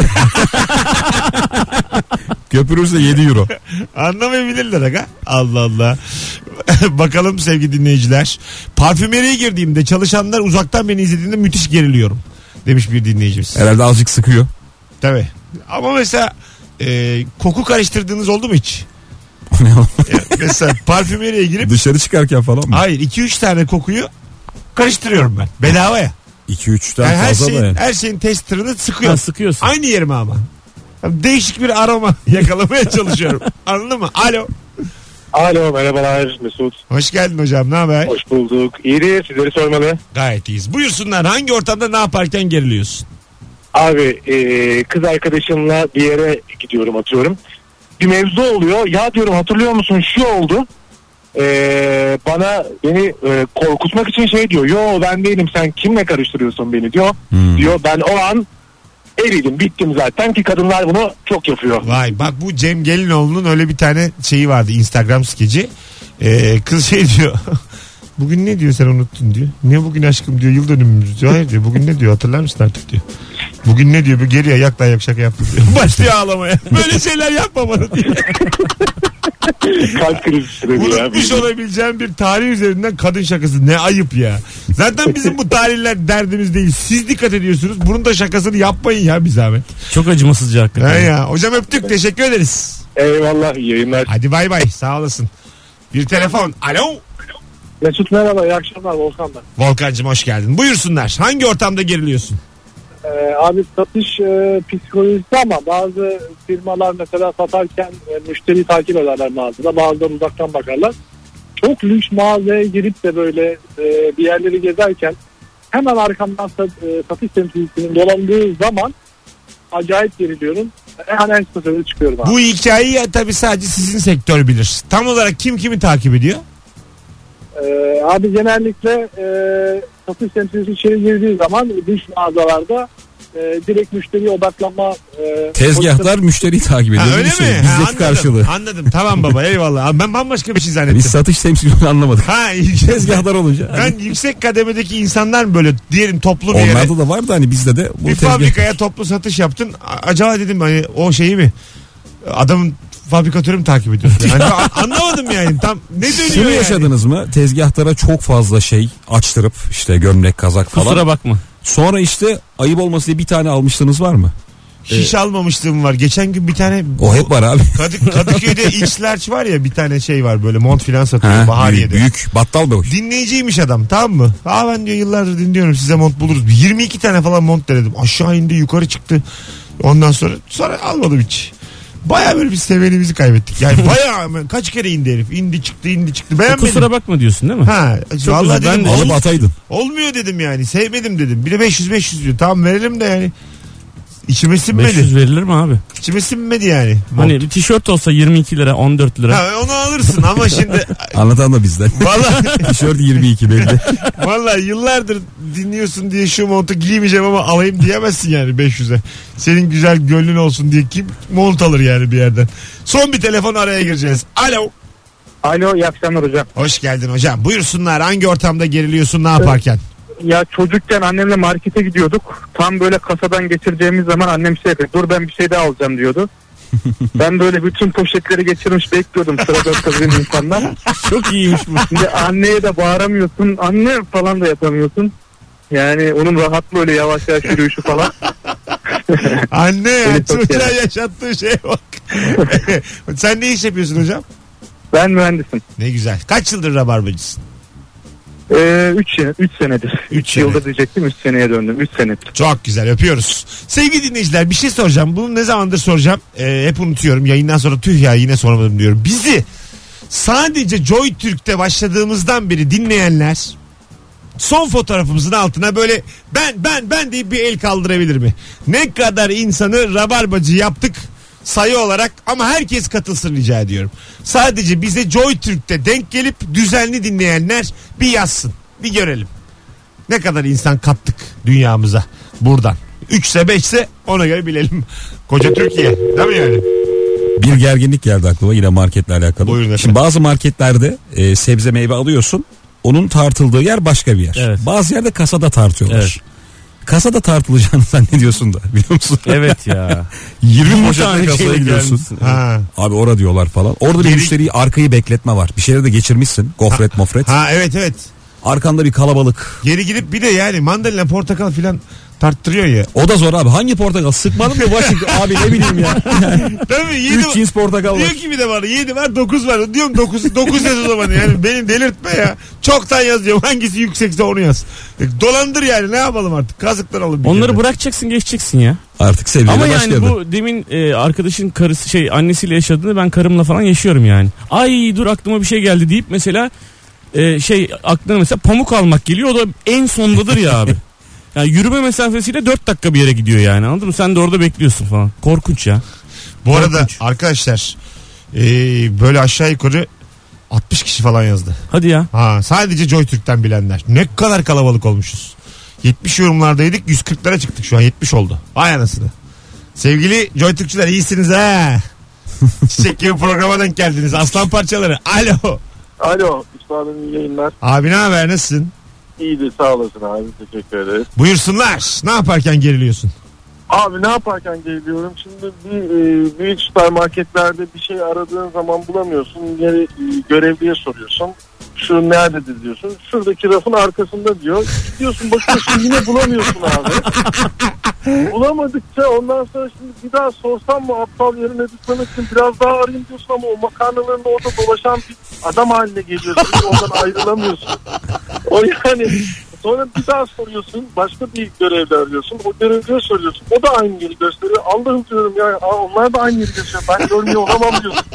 D: Köpürürse 7 euro.
B: Anlamayabilirler aga. Allah Allah. Bakalım sevgili dinleyiciler. Parfümeriye girdiğimde çalışanlar uzaktan beni izlediğinde müthiş geriliyorum. Demiş bir dinleyicimiz.
D: Herhalde azıcık sıkıyor.
B: Tabii. Ama mesela e, koku karıştırdığınız oldu mu hiç? Ya mesela parfümeriye girip
D: Dışarı çıkarken falan mı?
B: hayır 2-3 tane kokuyu karıştırıyorum ben. Bedava ya.
D: 2-3'ten
B: Yani her,
D: fazla
B: şeyin,
D: da yani.
B: her şeyin testlerini
C: Ha,
B: sıkıyorum.
C: sıkıyorsun.
B: Aynı yerime ama. Değişik bir aroma yakalamaya çalışıyorum. Anladın mı? Alo.
F: Alo merhabalar Mesut.
B: Hoş geldin hocam. Ne haber?
F: Hoş bulduk. İyidir sizleri sormalı.
B: Gayet iyiyiz. Buyursunlar hangi ortamda ne yaparken geriliyorsun?
F: Abi e, kız arkadaşımla bir yere gidiyorum atıyorum. Bir mevzu oluyor. Ya diyorum hatırlıyor musun şu oldu. E, bana beni e, korkutmak için şey diyor. Yo ben değilim sen kimle karıştırıyorsun beni diyor.
D: Hmm.
F: Diyor ben o an eridim bittim zaten ki kadınlar bunu çok yapıyor.
B: Vay bak bu Cem Gelinoğlu'nun öyle bir tane şeyi vardı Instagram skeci. Ee, kız şey diyor. Bugün ne diyor sen unuttun diyor. Ne bugün aşkım diyor yıl dönümümüz diyor. Hayır diyor bugün ne diyor hatırlar mısın artık diyor. Bugün ne diyor bir geriye yak da yak şaka yaptı diyor. Başlıyor ağlamaya. Böyle şeyler yapma bana diyor.
F: Kalp krizi süreli ya.
B: Unutmuş olabileceğim bir tarih üzerinden kadın şakası ne ayıp ya. Zaten bizim bu tarihler derdimiz değil. Siz dikkat ediyorsunuz. Bunun da şakasını yapmayın ya bir zahmet.
C: Çok acımasızca
B: Ha
C: hakikaten.
B: ya. Hocam öptük teşekkür ederiz.
F: Eyvallah iyi yayınlar.
B: Hadi bay bay sağ olasın. Bir telefon. Alo.
F: Mesut merhaba iyi akşamlar Volkan ben.
B: Volkan'cığım hoş geldin. Buyursunlar. Hangi ortamda geriliyorsun?
F: Ee, abi satış e, psikolojisi ama bazı firmalar mesela satarken e, müşteriyi takip ederler mağazada. Bazıları uzaktan bakarlar. Çok lüks mağazaya girip de böyle e, bir yerleri gezerken hemen arkamdan sa- e, satış temsilcisinin dolandığı zaman acayip geriliyorum. Hemen en kısa sürede çıkıyorum abi.
B: Bu hikayeyi ya tabii sadece sizin sektör bilir. Tam olarak kim kimi takip ediyor?
F: Ee, abi genellikle e, satış temsilcisi içeri girdiği zaman lüks mağazalarda e, direkt müşteriye odaklanma e,
D: Tezgahlar müşteriyi takip ediyor.
B: Ha,
D: Bu
B: öyle mi?
D: şey,
B: Ha,
D: Bizdeki
B: anladım,
D: karşılığı.
B: Anladım. Tamam baba eyvallah. Ama Ben bambaşka bir şey zannettim.
D: Biz satış temsilciliğini anlamadık.
B: Ha iyi.
D: Tezgahlar olunca.
B: Ben yüksek kademedeki insanlar mı böyle diyelim toplu bir yere
D: Onlarda da var da hani bizde de bu
B: bir
D: tezgah.
B: fabrikaya toplu satış yaptın. A- Acaba dedim hani o şeyi mi adamın fabrikatörü mü takip ediyor? Yani a- anlamadım yani tam ne dönüyor
D: Şunu
B: yani?
D: yaşadınız mı? Tezgahtara çok fazla şey açtırıp işte gömlek, kazak falan.
C: Kusura bakma.
D: Sonra işte ayıp olması diye bir tane almıştınız var mı? Ee,
B: Hiç almamışlığım var. Geçen gün bir tane
D: O hep var abi.
B: Kadık, Kadıköy'de X-Large var ya bir tane şey var böyle mont filan satıyor
D: Ha, büyük,
B: Bahariye'de.
D: büyük battal boy.
B: Dinleyiciymiş adam tamam mı? Aa ben diyor yıllardır dinliyorum size mont buluruz. 22 tane falan mont denedim. Aşağı indi yukarı çıktı. Ondan sonra sonra almadım hiç. Baya böyle bir sevenimizi kaybettik. Yani baya hemen kaç kere indi herif. İndi çıktı indi
D: E,
B: çıktı. Beğenmedim.
C: Kusura bakma diyorsun değil mi?
B: Ha, vallahi
C: özür- ben
B: dedim,
C: de-
B: ol-
D: Alıp ataydın.
B: olmuyor dedim yani. Sevmedim dedim. Bir de 500 500 diyor. Tamam verelim de yani. İçime sinmedi.
C: 500 verilir mi abi?
B: İçime sinmedi yani.
C: Hani bir tişört olsa 22 lira 14 lira.
B: Ha, onu alırsın ama şimdi
D: Anlatan da bizden.
B: vallahi
D: Tişört 22 belli.
B: Vallahi yıllardır dinliyorsun diye şu montu giymeyeceğim ama alayım diyemezsin yani 500'e. Senin güzel gönlün olsun diye kim mont alır yani bir yerden. Son bir telefon araya gireceğiz. Alo.
J: Alo iyi akşamlar hocam.
B: Hoş geldin hocam. Buyursunlar hangi ortamda geriliyorsun ne yaparken?
J: Ya çocukken annemle markete gidiyorduk. Tam böyle kasadan geçireceğimiz zaman annem şey yapıyor. Dur ben bir şey daha alacağım diyordu. ben böyle bütün poşetleri geçirmiş bekliyordum sırada kızgın insanlar.
C: Çok iyiymiş bu.
J: Şimdi anneye de bağıramıyorsun. Anne falan da yapamıyorsun. Yani onun rahatlığı öyle yavaş yavaş yürüyüşü falan.
B: Anne ya
J: Beni çok
B: çocuğa
J: sever.
B: yaşattığı şeye bak. Sen ne iş yapıyorsun hocam?
J: Ben mühendisim.
B: Ne güzel. Kaç yıldır rabarbacısın?
J: 3 ee, üç, sene- üç senedir.
B: Üç
J: 3 yılda diyecektim 3 seneye döndüm. 3 senedir.
B: Çok güzel öpüyoruz. Sevgili dinleyiciler bir şey soracağım. Bunu ne zamandır soracağım. Ee, hep unutuyorum. Yayından sonra tüh ya yine sormadım diyorum. Bizi sadece Joy Türk'te başladığımızdan beri dinleyenler son fotoğrafımızın altına böyle ben ben ben deyip bir el kaldırabilir mi? Ne kadar insanı rabarbacı yaptık sayı olarak ama herkes katılsın rica ediyorum. Sadece bize Joy Türk'te denk gelip düzenli dinleyenler bir yazsın. Bir görelim. Ne kadar insan kattık dünyamıza buradan. 3 ise 5 ise ona göre bilelim. Koca Türkiye. Değil mi yani?
D: Bir gerginlik geldi aklıma yine marketle alakalı.
B: Buyurun efendim.
D: Şimdi bazı marketlerde e, sebze meyve alıyorsun. Onun tartıldığı yer başka bir yer.
C: Evet.
D: Bazı yerde kasada tartıyorlar.
C: Evet.
D: Kasada tartılacağını zannediyorsun da biliyor musun?
C: Evet ya.
D: 20
C: tane
D: poşetle kasaya
C: şeyle
D: gidiyorsun.
C: gelmişsin.
B: Ha.
D: Abi ora diyorlar falan. Orada bir
B: Geri-
D: müşteriyi arkayı bekletme var. Bir şeyleri de geçirmişsin. Gofret mofret.
B: ha evet evet.
D: Arkanda bir kalabalık.
B: Geri gidip bir de yani mandalina portakal filan tarttırıyor ya.
D: O da zor abi. Hangi portakal? Sıkmadım mı başlık? abi ne bileyim ya.
B: Değil mi?
D: 3
B: Yedi,
D: cins portakal
B: diyor
D: var.
B: ki bir de bana 7 var 9 var. Diyorum 9, 9 yaz o zaman yani. Beni delirtme ya. Çoktan yaz diyorum. Hangisi yüksekse onu yaz. E, Dolandır yani ne yapalım artık. Kazıklar alın. bir
C: Onları
B: kere.
C: bırakacaksın geçeceksin ya.
D: Artık sevgiyle
C: Ama yani
D: başladı.
C: bu demin e, arkadaşın karısı şey annesiyle yaşadığını ben karımla falan yaşıyorum yani. Ay dur aklıma bir şey geldi deyip mesela e, şey aklına mesela pamuk almak geliyor o da en sondadır ya abi. Yani yürüme mesafesiyle 4 dakika bir yere gidiyor yani anladın mı? Sen de orada bekliyorsun falan. Korkunç ya.
B: Bu arada
C: Korkunç.
B: arkadaşlar e, böyle aşağı yukarı 60 kişi falan yazdı.
C: Hadi ya.
B: Ha sadece JoyTürk'ten bilenler. Ne kadar kalabalık olmuşuz. 70 yorumlardaydık 140'lara çıktık şu an 70 oldu. Vay anasını. Sevgili JoyTürkçüler iyisiniz ha. Çiçek gibi programa denk geldiniz. Aslan parçaları. Alo.
J: Alo üstadım iyi yayınlar.
B: Abi ne haber nasılsın?
J: İyidir sağ olasın abi teşekkür ederiz.
B: Buyursunlar. Ne yaparken geriliyorsun?
J: Abi ne yaparken geliyorum? Şimdi bir e, büyük süpermarketlerde bir şey aradığın zaman bulamıyorsun. Geri, e, görevliye soruyorsun. Şu nerededir diyorsun. Şuradaki rafın arkasında diyor. Gidiyorsun bakıyorsun yine bulamıyorsun abi. Bulamadıkça ondan sonra şimdi bir daha sorsam mı aptal yerine düşmemek için biraz daha arayayım diyorsun ama o makarnaların orada dolaşan bir adam haline geliyorsun. Oradan ayrılamıyorsun. O yani sonra bir daha soruyorsun başka bir görevde arıyorsun o görevliye soruyorsun o da aynı yeri gösteriyor Allah'ım diyorum ya aa, onlar da aynı yeri gösteriyor ben görmüyor olamam diyorsun.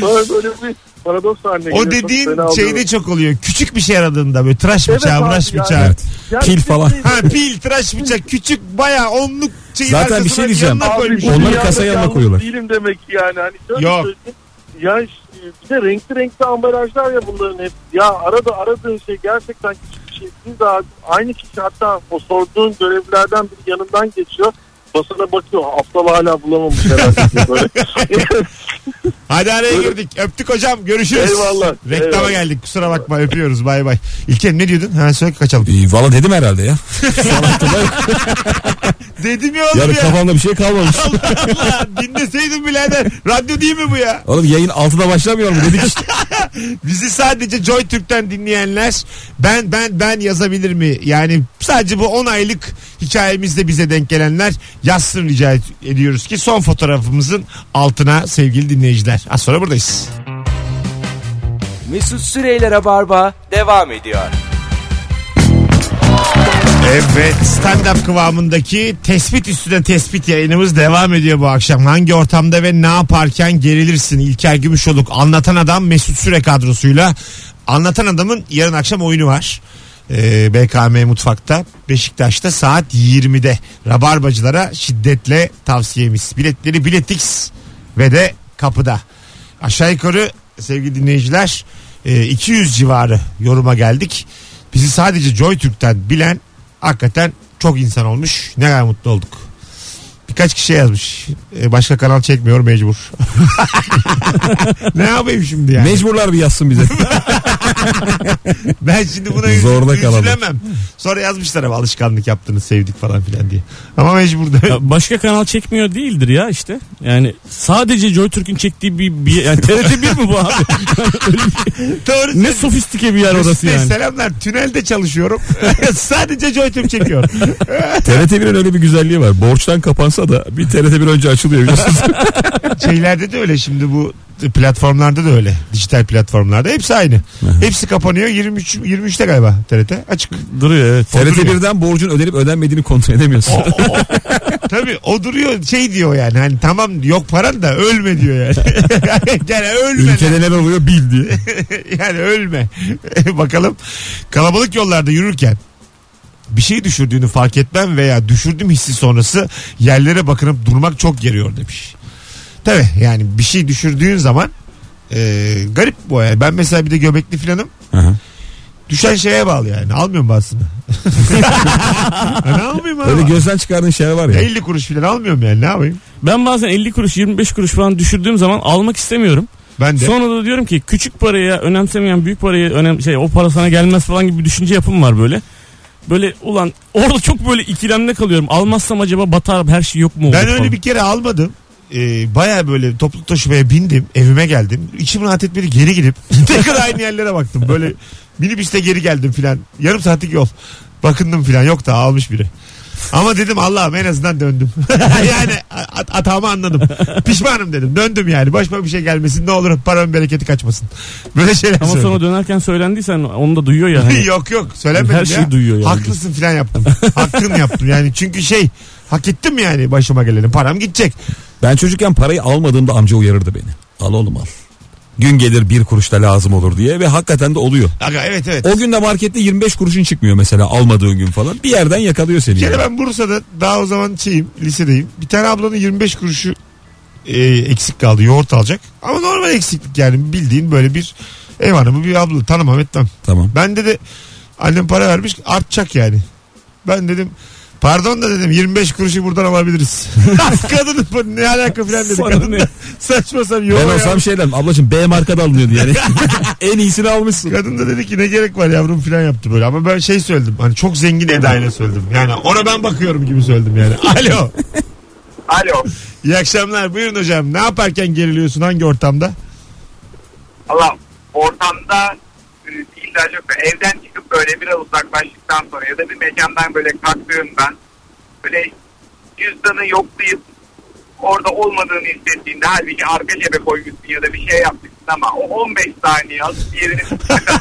J: Sonra böyle bir paradoks haline geliyor.
B: O
J: Çok fena
B: dediğin
J: oluyor.
B: şeyde çok oluyor. Küçük bir şey aradığında böyle tıraş
J: Evet
B: bıçağı,
J: abi
B: mıraş
J: yani.
B: bıçağı.
D: Evet.
J: Yani
D: Pil
J: bir
D: falan.
J: şey-
B: Ha pil, tıraş bıçak küçük bayağı onluk şeyin
D: Zaten bir
B: arkasına
D: şey diyeceğim.
B: yanına
J: Abi
B: koymuş.
J: bu
D: Onları
J: dünyada
D: kasaya
J: yalnız
D: koyuyorlar.
J: Değilim demek yani. Hani şöyle
B: Yok.
J: söyleyeyim. Ya ş- bir de renkli renkli ambalajlar ya bunların hep. Ya arada aradığın şey gerçekten küçük bir şey. Biz de aynı kişi hatta o sorduğun görevlerden biri yanından geçiyor. Basına bakıyor. Aptal hala bulamamış herhalde. diye böyle.
B: Hadi araya girdik. Öptük hocam. Görüşürüz.
J: Eyvallah.
B: Reklama
J: Eyvallah.
B: geldik. Kusura bakma. Öpüyoruz. Bay bay. İlker ne diyordun? Ha söyle kaçalım.
D: Ee, Valla dedim herhalde ya.
B: Dedim ya oğlum
D: Yani
B: ya.
D: kafamda bir şey kalmamış.
B: Allah Allah. Dinleseydin birader. Radyo değil mi bu ya?
D: Oğlum yayın 6'da başlamıyor mu dedik işte.
B: Bizi sadece Joy Türk'ten dinleyenler ben ben ben yazabilir mi? Yani sadece bu 10 aylık hikayemizde bize denk gelenler yazsın rica et- ediyoruz ki son fotoğrafımızın altına sevgili dinleyiciler. Az sonra buradayız.
A: Mesut Süreyler'e barba devam ediyor.
B: Evet stand-up kıvamındaki tespit üstüne tespit yayınımız devam ediyor bu akşam. Hangi ortamda ve ne yaparken gerilirsin? İlker Gümüşoluk anlatan adam Mesut Süre kadrosuyla. Anlatan adamın yarın akşam oyunu var. Ee, BKM Mutfak'ta Beşiktaş'ta saat 20'de Rabarbacılara şiddetle tavsiyemiz. Biletleri Biletix ve de kapıda. Aşağı yukarı sevgili dinleyiciler e, 200 civarı yoruma geldik. Bizi sadece Joy Türk'ten bilen hakikaten çok insan olmuş. Ne kadar mutlu olduk. Birkaç kişi yazmış. E, başka kanal çekmiyor mecbur. ne yapayım şimdi yani?
D: Mecburlar bir yazsın bize.
B: ben şimdi buna
D: Zorla
B: üzül-
D: kalalım.
B: üzülemem. Sonra yazmışlar ama alışkanlık yaptınız sevdik falan filan diye. Ama mecbur da.
C: Ya başka kanal çekmiyor değildir ya işte. Yani sadece Joy Türk'ün çektiği bir, bir yani TRT 1 mi bu abi?
B: Doğru
C: ne sofistike bir yer orası
B: Mesut Bey,
C: yani.
B: Selamlar. Tünelde çalışıyorum. Sadece JoyTürk çekiyor.
D: TRT 1'in öyle bir güzelliği var. Borçtan kapansa da bir TRT 1 önce açılıyor biliyorsunuz.
B: Şeylerde de öyle şimdi bu platformlarda da öyle. Dijital platformlarda hepsi aynı. hepsi kapanıyor 23 23'te galiba TRT açık.
C: Duruyor evet.
D: TRT
B: Oturuyor.
D: 1'den borcun ödenip ödenmediğini kontrol edemiyorsun.
B: Tabii o duruyor şey diyor yani hani tamam yok paran da ölme diyor yani. Gene ölme.
D: Ülkede neler oluyor bil diye.
B: yani ölme. Bakalım kalabalık yollarda yürürken bir şey düşürdüğünü fark etmem veya düşürdüm hissi sonrası yerlere bakınıp durmak çok geriyor demiş. Tabi yani bir şey düşürdüğün zaman e, garip bu yani. Ben mesela bir de göbekli filanım.
D: Aha.
B: Düşen şeye bağlı yani. Almıyorum basını. ne almayayım
D: Öyle
B: abi?
D: gözden çıkardığın şey var ya.
B: 50 kuruş filan almıyorum yani ne yapayım?
C: Ben bazen 50 kuruş 25 kuruş falan düşürdüğüm zaman almak istemiyorum.
B: Ben de.
C: Sonra da diyorum ki küçük paraya önemsemeyen büyük paraya önem şey o para sana gelmez falan gibi bir düşünce yapım var böyle. Böyle ulan orada çok böyle ikilemde kalıyorum. Almazsam acaba batar her şey yok mu? olur
B: Ben öyle
C: falan.
B: bir kere almadım. Ee, Baya böyle toplu taşımaya bindim. Evime geldim. İçim rahat etmedi geri gidip tekrar aynı yerlere baktım. Böyle minibüste geri geldim filan. Yarım saatlik yol. Bakındım filan yok da almış biri. Ama dedim Allah'ım en azından döndüm. yani at- hatamı anladım. Pişmanım dedim. Döndüm yani. Başıma bir şey gelmesin. Ne olur paramın bereketi kaçmasın. Böyle şeyler
C: Ama
B: söyledim.
C: sonra dönerken söylendiysen onu da duyuyor ya. hani.
B: yok yok söylemedim
C: Her
B: ya.
C: şeyi duyuyor yani.
B: Haklısın filan yaptım. Hakkın yaptım yani. Çünkü şey hak ettim yani başıma geleni. Param gidecek.
D: Ben çocukken parayı almadığımda amca uyarırdı beni. Al oğlum al. Gün gelir bir kuruş da lazım olur diye ve hakikaten de oluyor.
B: Aga evet evet.
D: O gün de markette 25 kuruşun çıkmıyor mesela almadığın gün falan. Bir yerden yakalıyor seni.
B: Bir kere
D: yani.
B: Şey ben Bursa'da daha o zaman şeyim lisedeyim. Bir tane ablanın 25 kuruşu e, eksik kaldı yoğurt alacak. Ama normal eksiklik yani bildiğin böyle bir ev hanımı bir abla tanımam etmem.
D: Tamam.
B: Bende de annem para vermiş artacak yani. Ben dedim pardon da dedim 25 kuruşu buradan alabiliriz. Kadının bu ne alaka filan dedi.
C: Sana
B: Kadın
C: ne?
B: da saçma sen yok
D: ben
B: ya.
D: olsam şey derim ablacığım B markada alınıyordu yani. en iyisini almışsın.
B: Kadın da dedi ki ne gerek var yavrum filan yaptı böyle. Ama ben şey söyledim hani çok zengin edayla söyledim. Yani ona ben bakıyorum gibi söyledim yani. Alo.
E: Alo.
B: İyi akşamlar. Buyurun hocam. Ne yaparken geriliyorsun? Hangi ortamda?
E: Allah ortamda e, ihtiyaç yok. Evden çıkıp böyle biraz uzaklaştıktan sonra ya da bir mekandan böyle kalktığımda böyle cüzdanı yoklayıp orada olmadığını hissettiğinde halbuki arka cebe koymuşsun ya da bir şey yapmışsın ama o 15 saniye az yerini tutacak.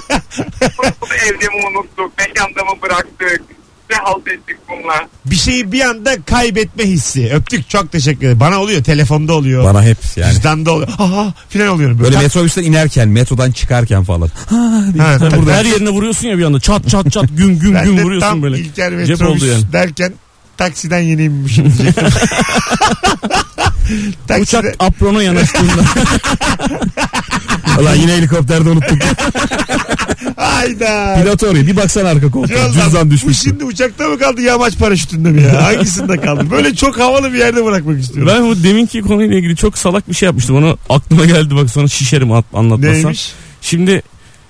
E: Bunu evde mi unuttuk, mekanda mı bıraktık, ne halt ettik bununla.
B: Bir şeyi bir anda kaybetme hissi. Öptük. Çok teşekkür ederim. Bana oluyor. Telefonda oluyor.
D: Bana hep yani.
B: Cüzdanda oluyor. Aha filan oluyorum.
D: Böyle
B: Ha,
D: metrobüsten inerken metrodan çıkarken falan.
B: ha, tabii.
C: Burada her yerine vuruyorsun ya bir anda çat çat çat güm güm
B: Ben de
C: güm vuruyorsun
B: tam
C: böyle.
B: İlker
C: Cep oldu
B: metrobüs
C: yani.
B: derken taksiden yeni inmişim diyecektim. Takside-
C: Uçak aprona yanaştığında.
D: Ulan yine helikopterde unuttuk.
B: Hayda.
D: Pilot oraya bir baksan arka koltuğa.
B: Yollar-
D: Cüzdan
B: Bu
D: düşmüş.
B: şimdi uçakta mı kaldı yamaç paraşütünde mi ya? Hangisinde kaldı? Böyle çok havalı bir yerde bırakmak istiyorum.
C: ben bu deminki konuyla ilgili çok salak bir şey yapmıştım. Onu aklıma geldi bak sonra şişerim at- anlatmasam.
B: Neymiş?
C: Şimdi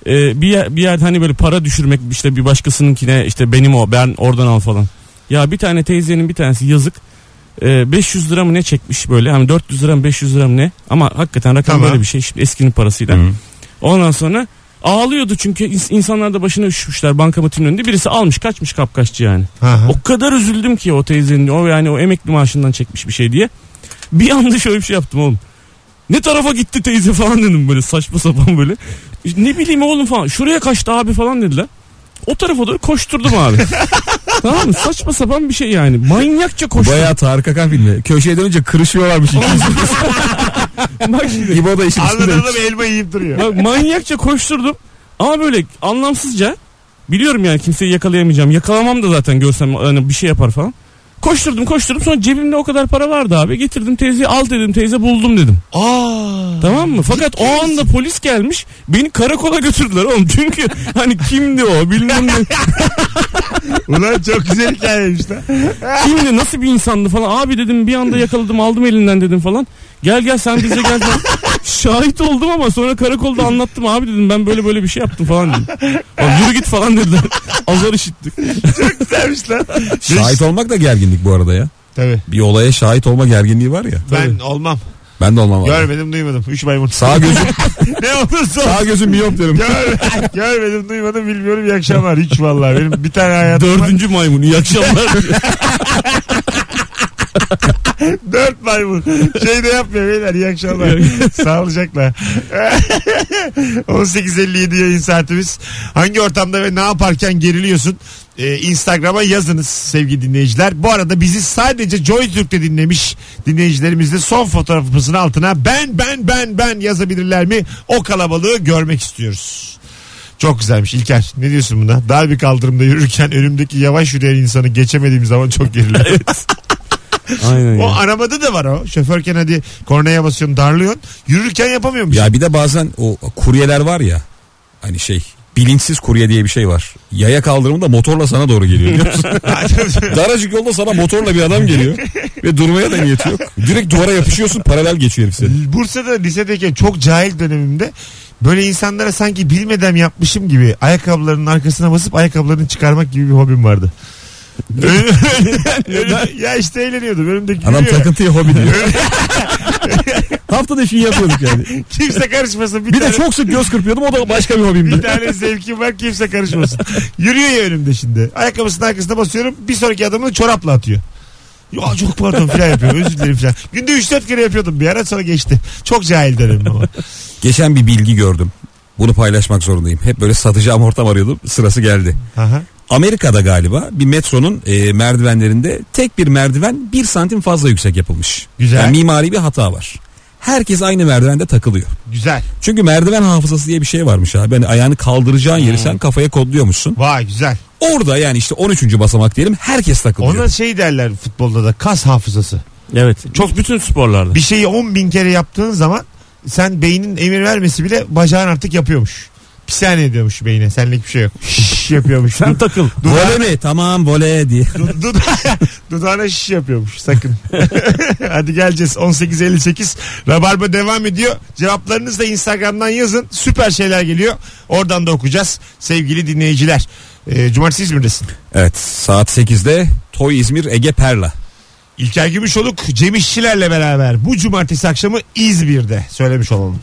C: e, bir yer, bir yerde hani böyle para düşürmek işte bir başkasınınkine işte benim o ben oradan al falan. Ya bir tane teyzenin bir tanesi yazık e, 500 lira mı ne çekmiş böyle hani 400 lira mı 500 lira mı ne ama hakikaten rakam
B: Tamam.
C: böyle bir şey şimdi eskinin parasıyla.
D: Hı.
C: Ondan sonra ağlıyordu çünkü ins- insanlar da başına üşmüşler bankamatiğin önünde birisi almış kaçmış kapkaççı yani.
B: Aha.
C: O kadar üzüldüm ki o teyzenin o yani o emekli maaşından çekmiş bir şey diye. Bir anda şöyle bir şey yaptım oğlum. Ne tarafa gitti teyze falan dedim böyle saçma sapan böyle. Ne bileyim oğlum falan şuraya kaçtı abi falan dediler. O tarafa doğru koşturdum abi. tamam mı? Saçma sapan bir şey yani. Manyakça koştu.
D: Bayağı Tarık Akan filmi. Köşeye dönünce kırışıyorlarmış ikimiz.
C: Bak şimdi.
D: İbo da işin içinde.
B: Anladın mı elma yiyip duruyor.
C: Bak manyakça koşturdum. Ama böyle anlamsızca biliyorum yani kimseyi yakalayamayacağım. Yakalamam da zaten görsem hani bir şey yapar falan. Koşturdum koşturdum sonra cebimde o kadar para vardı abi. Getirdim teyzeyi al dedim teyze buldum dedim.
B: Aa.
C: Tamam mı? Fakat o anda polis gelmiş beni karakola götürdüler oğlum. Çünkü hani kimdi o bilmem ne.
B: Ulan çok güzel hikayeymiş lan.
C: Kimdi nasıl bir insandı falan. Abi dedim bir anda yakaladım aldım elinden dedim falan. Gel gel sen bize gel falan. Şahit oldum ama sonra karakolda anlattım abi dedim ben böyle böyle bir şey yaptım falan dedim. Abi yürü git falan dediler. Azar işittik.
B: Güzelmiş lan.
D: Şahit olmak da gerginlik bu arada ya.
B: Tabii.
D: Bir olaya şahit olma gerginliği var ya.
B: Ben olmam.
D: Ben de olmam abi.
B: Görmedim duymadım. Üç maymun.
D: Sağ gözüm,
B: ne olursa olsun.
D: sağ gözüm miyop derim.
B: Gör, görmedim duymadım bilmiyorum iyi akşamlar. Hiç vallahi benim bir tane hayatım var.
C: Dördüncü maymun iyi akşamlar.
B: Dört maymun. Şey de yapmıyor beyler iyi akşamlar. Sağlıcakla. 18.57 yayın saatimiz. Hangi ortamda ve ne yaparken geriliyorsun? Ee, Instagram'a yazınız sevgili dinleyiciler. Bu arada bizi sadece Joy Türk'te dinlemiş dinleyicilerimiz de son fotoğrafımızın altına ben ben ben ben yazabilirler mi? O kalabalığı görmek istiyoruz. Çok güzelmiş İlker. Ne diyorsun buna? Dar bir kaldırımda yürürken önümdeki yavaş yürüyen insanı geçemediğim zaman çok geriliyorum.
C: Aynen
B: O
C: ya.
B: arabada da var o. Şoförken hadi kornaya basıyorsun darlıyorsun. Yürürken yapamıyormuş.
D: Ya bir de bazen o kuryeler var ya. Hani şey bilinçsiz kurye diye bir şey var. Yaya kaldırımında motorla sana doğru geliyor biliyor musun? Daracık yolda sana motorla bir adam geliyor. Ve durmaya da niyeti yok. Direkt duvara yapışıyorsun paralel geçiyor herif seni.
B: Bursa'da lisedeyken çok cahil dönemimde böyle insanlara sanki bilmeden yapmışım gibi ayakkabılarının arkasına basıp ayakkabılarını çıkarmak gibi bir hobim vardı. Önüm- ya işte eğleniyordum önümdeki
D: Adam
B: gülüyor ya.
D: takıntıya hobi diyor. Haftada işini yapıyorduk yani.
B: Kimse karışmasın bir,
D: Bir
B: tane.
D: de çok sık göz kırpıyordum o da başka bir
B: Bir
D: hobimdi.
B: tane zevkim var kimse karışmasın. Yürüyor ya önümde şimdi. Ayakkabısının arkasına basıyorum. Bir sonraki adamı da çorapla atıyor. Ya çok pardon filan yapıyor. Özür dilerim filan. Günde 3-4 kere yapıyordum bir ara sonra geçti. Çok cahil dönemim ama.
D: Geçen bir bilgi gördüm. Bunu paylaşmak zorundayım. Hep böyle satacağım ortam arıyordum. Sırası geldi.
B: Aha.
D: Amerika'da galiba bir metronun e, merdivenlerinde tek bir merdiven bir santim fazla yüksek yapılmış.
B: Güzel.
D: Yani mimari bir hata var. Herkes aynı merdivende takılıyor.
B: Güzel.
D: Çünkü merdiven hafızası diye bir şey varmış abi. Hani ayağını kaldıracağın yeri sen kafaya kodluyormuşsun.
B: Vay güzel.
D: Orada yani işte 13. basamak diyelim herkes takılıyor.
B: Ona şey derler futbolda da kas hafızası.
C: Evet. Çok bütün sporlarda.
B: Bir şeyi 10 bin kere yaptığın zaman sen beynin emir vermesi bile bacağın artık yapıyormuş. Bir saniye diyormuş beyne. Senlik bir şey yok. Şşş yapıyormuş.
C: Sen takıl.
D: Vole mi? Tamam vole diye.
B: Du- duda- dudağına şiş yapıyormuş sakın. Hadi geleceğiz 18.58 Rabarba devam ediyor. Cevaplarınızı da Instagram'dan yazın. Süper şeyler geliyor. Oradan da okuyacağız sevgili dinleyiciler. Ee, Cumartesi İzmir'desin.
D: Evet saat 8'de Toy İzmir Ege Perla.
B: İlker Gümüşoluk Cem İşçilerle beraber bu cumartesi akşamı İzmir'de söylemiş olalım.